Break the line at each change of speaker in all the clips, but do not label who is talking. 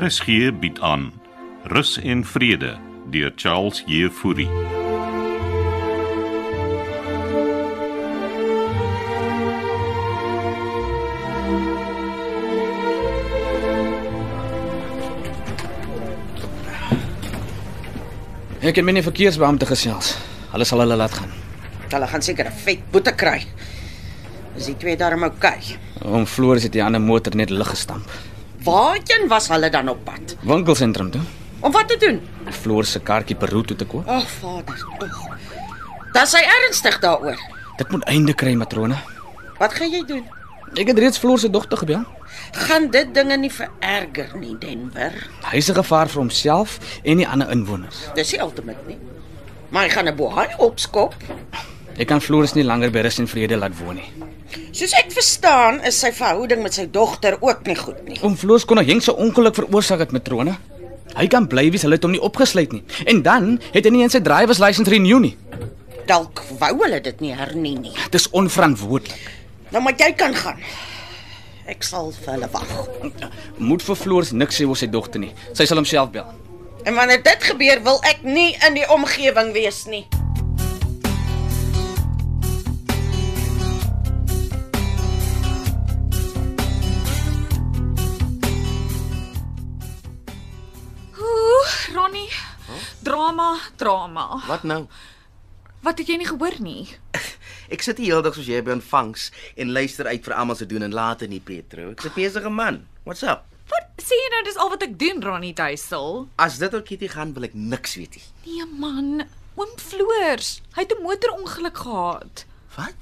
RSG bied aan Rus en Vrede deur Charles Jefouri.
Ek het met die verkeersbeampte gesels. Hulle sal hulle laat gaan.
Hulle gaan seker 'n vet boete kry. Is die twee darm oukei? Okay?
Oom Floris het die ander motor net lig gestamp.
Waarheen was hulle dan op pad?
Winkelsentrum toe.
Om wat te doen?
Floris se kaartjie Peru toe te koop.
O, oh, vader tog. Dan sy ernstig daaroor.
Dit moet einde kry, matrone.
Wat gaan jy doen?
Ek het reeds Floris se dogter gebel.
Gaan dit dinge nie vererger nie, Denver?
Hy is 'n gevaar vir homself en die ander inwoners.
Dis nie ultimate nie. Maar hy gaan 'n bohaai opskop.
Ek kan Floris nie langer by rus en vrede laat woon nie.
Soos ek verstaan, is sy verhouding met sy dogter ook nie goed nie.
Oom Floris kon 'n hengse ongeluk veroorsaak het, matrone. Hy kan bly wees hulle het hom nie opgesluit nie. En dan het hy nie eens sy drywers license renew nie.
Dalk wou hulle dit nie hernie nie.
Dis onverantwoordelik.
Nou maar jy kan gaan. Ek sal vir hulle wag.
Moet vir Floris niks sê oor sy dogter nie. Sy sal homself bel.
En wanneer dit gebeur, wil ek nie in die omgewing wees nie.
Ooh, Ronnie. Drama, drama.
Wat nou?
Wat het jy nie gehoor nie?
Ek sit die hele dag soos jy by ontvangs en luister uit vir almal se doen en later nie Petro. Ek's 'n besige man. What's up?
Wat sê jy nou dis al wat ek doen, Ronnie Duisel?
As dit oor Kitty gaan wil ek niks weet nie.
Nee man, oom Floors, hy het 'n motorongeluk gehad
Wat?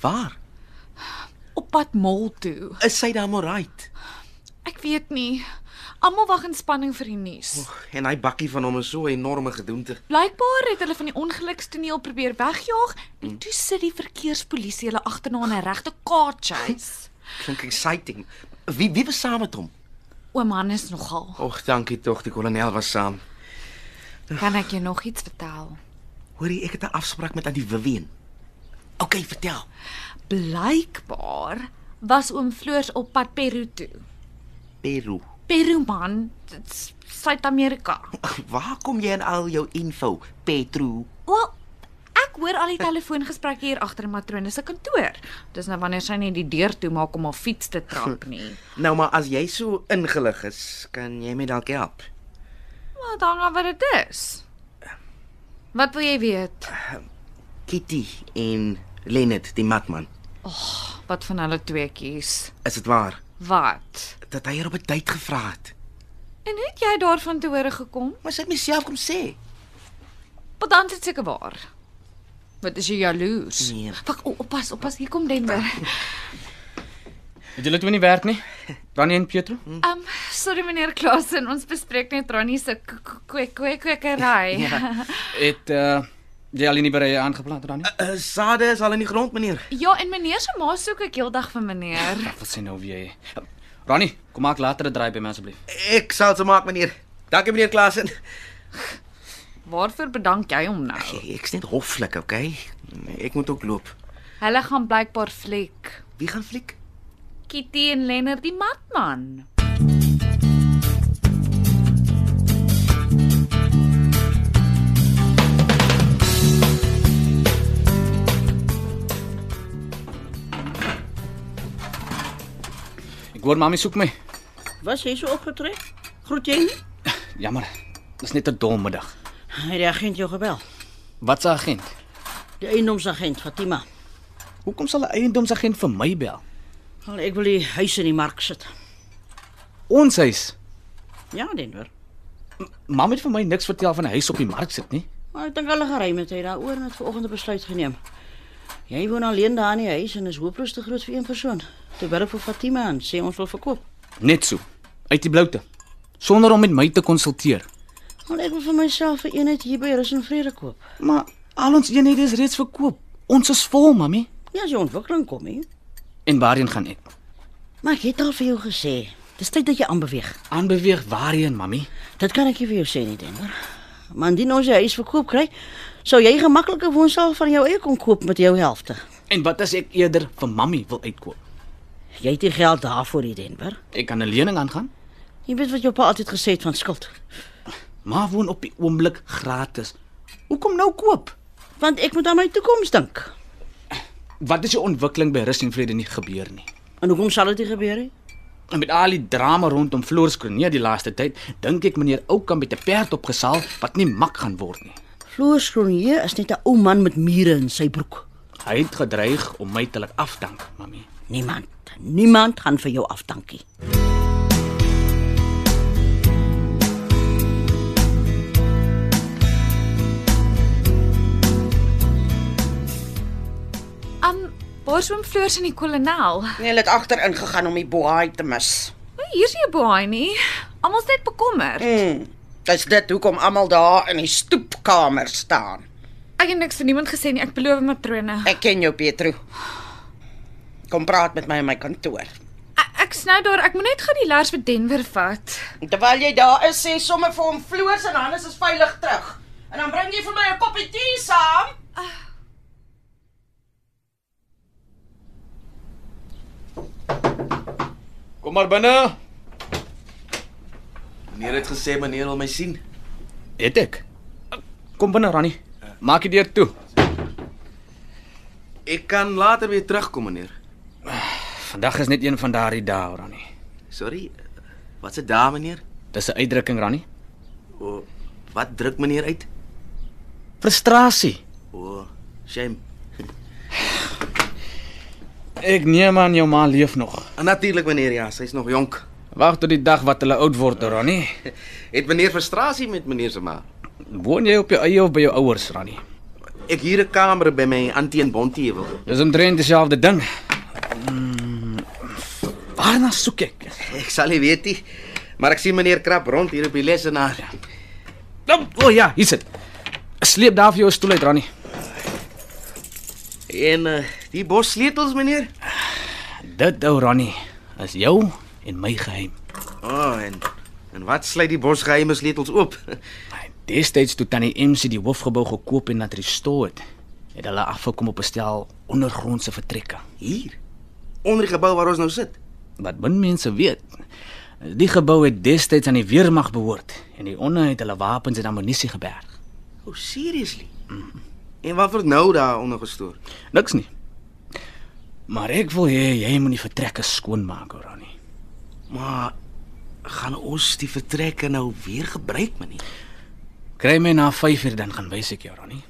Waar?
op pad mol toe.
Is sy dan alright?
Ek weet nie. Almal wag in spanning vir die nuus.
En hy bakkie van hom is so 'n enorme gedoente.
Blykbaar het hulle van die ongelukstoneel probeer wegjaag en toe sit die verkeerspolisie hulle agterna in 'n regte car chase.
Klink exciting. Wie wie was saam met hom?
Oom Hannes nogal.
Och, dankie tog, die kolonel was saam.
Kan ek jou nog iets vertel?
Hoorie, ek het 'n afspraak met Antie Vivian. OK, vertel.
Blykbaar was oom Floors op pad Peru toe.
Peru.
Peru man, dit is Suid-Amerika.
Waar kom jy aan al jou info, Petro?
Wel, ek hoor al die telefoongesprekke hier agter matrone se kantoor. Dis nou wanneer sy net die deur toe maak om haar fiets te trap nie.
Nou maar as jy so ingelig is, kan jy my dalk help.
Maar dan gaan wat dit is. Wat wil jy weet?
Kitty en Lenet, die matman.
Wat van hulle tweeetjies?
Is dit waar
Wat?
dat hy haar op 'n date gevra het?
En het jy daarvan te hore gekom?
Maar sy het myself kom sê.
Maar dan is dit seker waar. Wat is jy jaloers?
Nee.
Wag, o, oppas, oppas, hier kom Denver.
Het julle toe nie werk nie? Ronnie en Pietro?
Ehm, um, sorry meneer Klasen, ons bespreek net Ronnie se k- k- kwek kwek kwekery. ja.
Het uh jy al nie by hy aangeplant Ronnie?
Uh, sade is al in die grond, meneer.
ja, en meneer se ma soek ek heeldag vir meneer.
Wat wil sy nou weer hê? Ronnie, kom maak later 'n draai by my asseblief.
Ek sal dit maak, meneer. Dankie meneer Klasen.
Waarvoor bedank jy hom nou?
Ek's net hoflik, okay? Ek moet ook loop.
Hulle gaan blykbaar fliek.
Wie gaan fliek?
Kitty en Lennard die matman.
Ek hoor mami soek my.
Was jy so opgetrek? Groet jy nie?
Jammer. Dis net 'n dom middag.
Het die agent jou gebel?
Wat se agent?
Die eiendomsagent Fatima.
Hoekom sal 'n eiendomsagent vir my bel?
Al ek wil die huis in die mark sit.
Ons huis.
Ja, Denver.
Mam het vir my niks vertel van 'n huis op die mark sit nie.
Maar ek dink hulle gery met hy daaroor net vanoggend 'n besluit geneem. Jy woon alleen daar in die huis en is hopeloos te groot vir een persoon. Toe bel ek vir Fatima en sê ons wil verkoop.
Net so, uit die bloute, sonder om met my te konsulteer.
Want ek wil vir myself 'n eenheid hier by Rus en Vrede koop.
Maar al ons eenhede is reeds verkoop. Ons is vol, mami.
Ja, as jy ontwikkeling kom hier.
En waarheen gaan ek?
Maar ek het al vir jou gesê, dis tyd dat jy aanbeweeg.
Aanbeweeg waarheen, mami?
Dit kan ek nie vir jou sê nie, Denver. Maar indien ons jou huis verkoop kry, sou jy gemakliker woonsaal van jou eie kon koop met jou helfte.
En wat as ek eerder vir mami wil uitkoop?
Jy het nie geld daarvoor nie, Denver.
Ek kan 'n lening aangaan.
Jy weet wat jou pa altyd gesê het van skuld.
Maar woon op die oomblik gratis. Hoekom nou koop?
Want ek moet aan my toekoms dink.
Wat is die ontwikkeling by Rus en Vrede nie gebeur nie?
En hoekom sal dit nie gebeur nie?
En met al die drama rondom Floorskronie die laaste tyd, dink ek meneer Oukamp het 'n perd opgesaal wat nie mak gaan word nie.
Floors Cronje is net 'n ou man met mure in sy broek.
Hy het gedreig om my te laat afdank, mami.
Niemand, niemand gaan vir jou afdankie.
Um, waar swem Floors in die kolonel?
Nee, hulle het agterin gegaan om die boei te mis.
Nee, hier's nie 'n baai nie. Almal's net bekommerd.
Mm. Dis dit hoekom almal daar in die stoepkamer staan.
Ek het niks vir niemand gesê nie. Ek beloof matrone.
Ek ken jou, Petro. Kom praat met my in my kantoor.
Ek, ek snou daar. Ek moet net gou die lers vir Denver vat.
Terwyl jy daar is, sê sommer vir hom Floors en Hannes is veilig terug. En dan bring jy vir my 'n koppie tee saam.
Kom maar binne.
Meneer het gesê meneer wil my sien.
Het ek. Kom binne, Ronnie. Maak die deur toe.
Ek kan later weer terugkom, meneer.
Vandag is net een van daardie dae, Ronnie.
Sorry. Wat se dae, meneer?
Dis 'n uitdrukking, Ronnie.
O, wat druk meneer uit?
Frustrasie.
O, shame.
Ek neem aan jou ma leef nog.
En natuurlik meneer, ja, sy's nog jonk.
Wag tot die dag wat hulle oud word, Ronnie.
Het meneer frustrasie met meneer se ma?
Woon jy op jou eie of by jou ouers, Ronnie?
Ek huur 'n kamer by my auntie in Bontewil.
Dis omtrent dieselfde ding. Mm, Waarna soek ek?
Ek sal nie weet nie, maar ek sien meneer krap rond hier op die lesenaar.
O oh, ja, hier sit. Sleep daar vir jou 'n stoel uit, Ronnie.
En uh, die bos sleutels meneer?
Dit ou Ronnie is jou en my geheim.
O, oh, en en wat sluit die bos geheime sleutels oop?
Destyds toe tannie MC die hoofgebou gekoop en laat restoreer het, het hulle afgekom op 'n stel ondergrondse vertrekke.
Hier. Onder die gebou waar ons nou sit.
Wat min mense weet, die gebou het destyds aan die weermag behoort en die onder het hulle wapens en ammunisie geberg.
O, oh, seriously? Mhm. En wat word nou daar onder gestoor?
Niks nie. Maar ek wil hê jy moet die vertrekke skoonmaak, ou Ronnie.
Maar gaan ons die vertrekke nou weer gebruik meneer?
Kry my na 5uur dan gaan wys ek jou, Ronnie.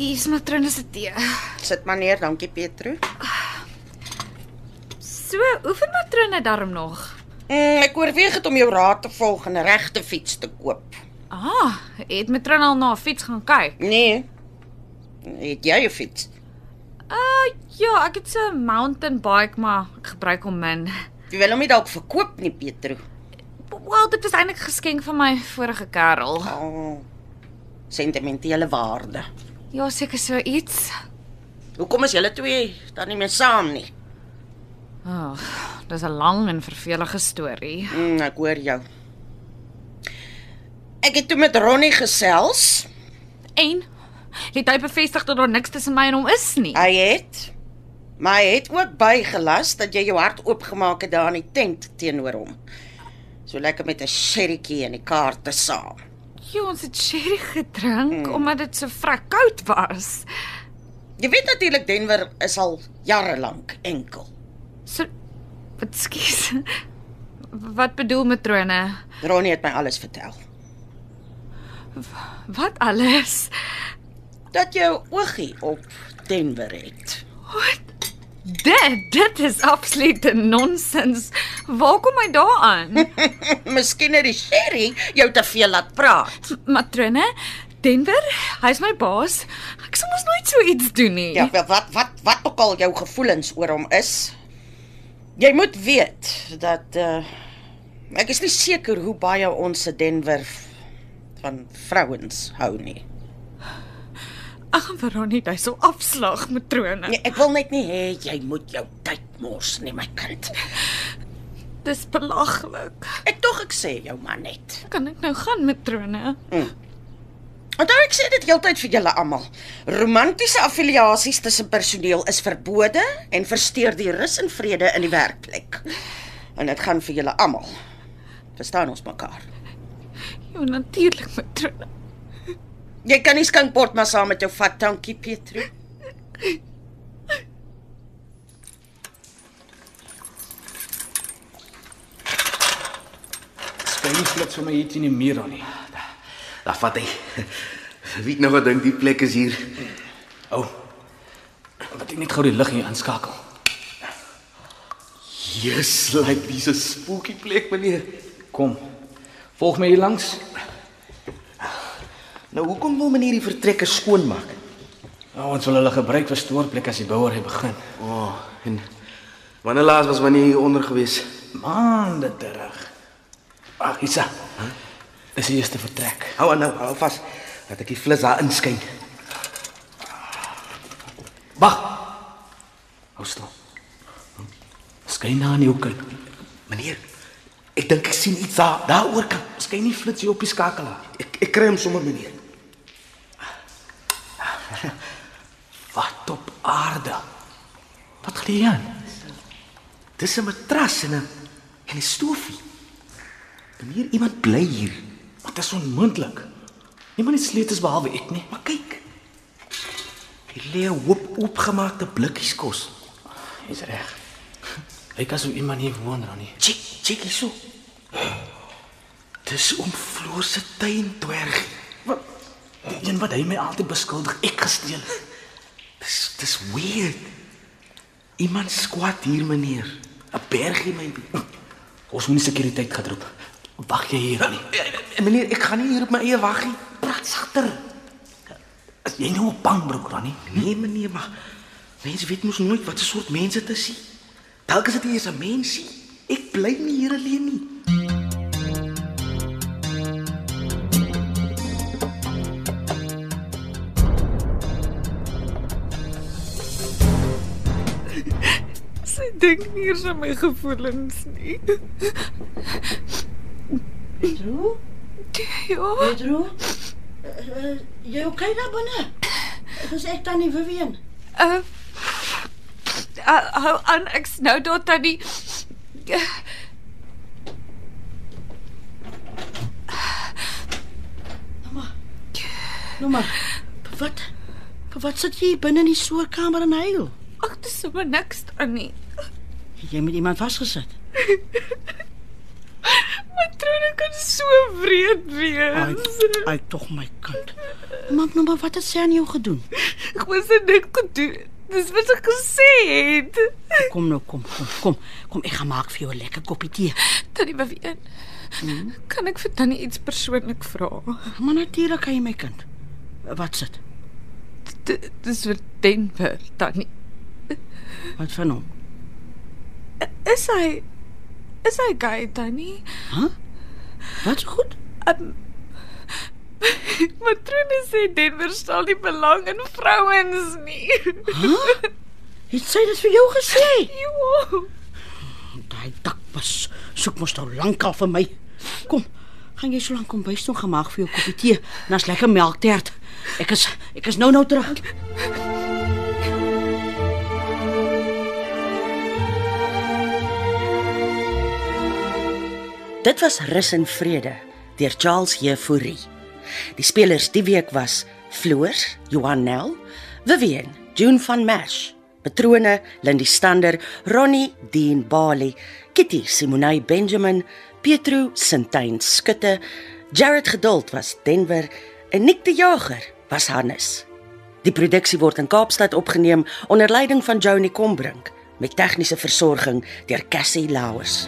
Hier's matrone se tee.
Sit maar neer, dankie Petro.
So, oefen matrone daarom nog.
Mm, ek oorweeg dit om jou raad te volg en 'n regte fiets te koop.
Ah, het matrone al na 'n fiets gaan kyk.
Nee. Het jy 'n fiets?
Ah, ja, ek het so 'n mountain bike, maar ek gebruik hom min.
Jy wil hom nie dalk verkoop nie, Petro.
Wel, dit was eintlik 'n geskenk van my vorige kerel.
Oh, sentimentele waarde.
Ja, seker so iets.
Hoekom is julle twee dan nie meer saam nie?
Ag, oh, dis 'n lang en vervelige storie.
Mm, ek hoor jou. Ek het toe met Ronnie gesels.
En het hy bevestig dat daar niks tussen my en hom is nie.
Hy het maar hy het ook bygelas dat jy jou hart oopgemaak het daar in die tent teenoor hom. So lekker met 'n sherrytjie en die kaarte saam.
Ja, ons het sherry gedrink mm. omdat dit so vrek koud was.
Jy weet natuurlik Denver is al jare lank enkel.
So wat skies. Wat bedoel matrone?
Ronnie het my alles vertel.
Wat alles?
Dat jy 'n oogie op Denver het.
Dit dit is absolute nonsens. Waar kom hy daaraan?
Miskien het die sherry jou te veel laat praat.
matrone, Denver, hy's my baas. Ek sal mos nooit so iets doen nie.
Ja, wel wat wat wat ook al jou gevoelens oor hom is. Jy moet weet dat uh ek is nie seker hoe baie ons se Denver van vrouens hou nie.
Ek gaan vir Ronnie hy sal afslag matrone.
Nee, ek wil net nie hê jy moet jou tyd mors nie, my kind.
Dis belaglik.
Ek tog ek sê jou maar net.
Kan ek nou gaan matrone?
Onthou ek sê dit heeltyd vir julle almal. Romantiese affiliasies tussen personeel is verbode en versteur die rus en vrede in die werkplek. En dit gaan vir julle almal. Verstaan ons mekaar?
Ja, natuurlik, matrone.
Jy kan nie skinkpot maar saam met jou vat, dankie Petro.
Skyn nie flits sommer hier teen die muur aan nie.
Daar vat hy. Wie het nou gedink die plek is hier?
Ou. Wat ek net gou die lig hier aanskakel.
Jesus, lyk like, dis 'n spooky plek, meneer.
Kom. Volg my hier langs.
Nou hoekom wil meneer die vertrekke skoonmaak?
Nou, ons wil hulle gebruik vir stoorplek as die bouer hy begin.
O, oh, en wanneer laas was meneer hier onder gewees?
Maande terug. Ag, Isa. Dis die eerste vertrek.
Hou aan nou, hou vas. Dat ek die flis daar inskyn.
Wag. Hou stil. Skyn na aan die hoek. uit.
Meneer, ek dink ek sien iets daar daaroor kan.
Skyn nie flits hier op die skakelaar.
Ek ek kry hom sommer meneer.
Wat op aarde? Wat glee aan?
Dis 'n matras en 'n en 'n stoofie. Meneer, iemand bly hier.
Wat is onmoontlik? Niemand het sleutels behalwe ek nie.
Maar kyk. Hier lê 'n hoop oopgemaakte blikkies kos.
Jy's reg. Lyk asof iemand hier woon, Ronnie.
Check, check hierso. Dis om Floor se tuin dwerg.
Wat? Die een wat hy my altyd beskuldig ek gesteel het.
Dis dis weird. Iemand squat hier meneer. 'n Bergie maybe.
Ons moet nie sekuriteit gedroep. Wag jy hier, Ronnie.
Nou, eh, Meneer, ek gaan nie hier op my eie wag nie.
Praat sagter. As jy nou op bang broek, Ronnie.
Nee meneer, maar mense weet mos nooit wat 'n soort mense dit is. nie. Dalk is dit eers 'n mensie. Ek bly nie hier alleen nie.
Sy dink nie eers aan my gevoelens nie.
Pedro?
Ja,
Pedro? Uh, uh, jy oké daar binne? Dis ek tannie Vivian.
uh, uh hou aan, ek's nou daar tannie. Eh,
Nou maar. pa- Wat? pa- Wat sit jy hier binne in die soorkamer en huil?
Ag, dis sommer niks tannie.
Het Jy met iemand vasgesit.
Matrone kan so wreed wees.
Ai tog my kind. Maak nou maar wat het sy aan jou gedoen?
Ek was dit net gedoen. Dis wat ek gesê het.
Kom nou, kom, kom, kom. Kom, ek gaan maak vir jou 'n lekker koppie tee.
Tannie Beween. Kan ek vir tannie iets persoonlik vra?
Maar natuurlik kan jy my kind. Wat sit?
D- Dis vir Denver, tannie.
Wat van hom?
Is hy Is hy gay, tannie? Ehm,
Wat so goed?
Matrone sê Denver stel nie belang in vrouens nie.
Het sy dit vir jou gesê?
Jo.
Daai dakpas soek mos nou lankal vir my. Kom. Gaan jy so lank kom bys toe gemaak vir jou koppie tee en as lekker melktert. Ek is ek is nou nou terug.
Dit was Rus en Vrede deur Charles Jefouri. Die spelers die week was Floors, Johan Nel, Vivian, June van Merch, Patrone, Lindi Stander, Ronnie, Dean Bali, Kitty Simonay Benjamin, Pietro Sintyn Skutte, Jared Geduld was Denver en Nick die Jager was Hannes. Die produksie word in Kaapstad opgeneem onder leiding van Johnny Combrink met tegniese versorging deur Cassie Lauers.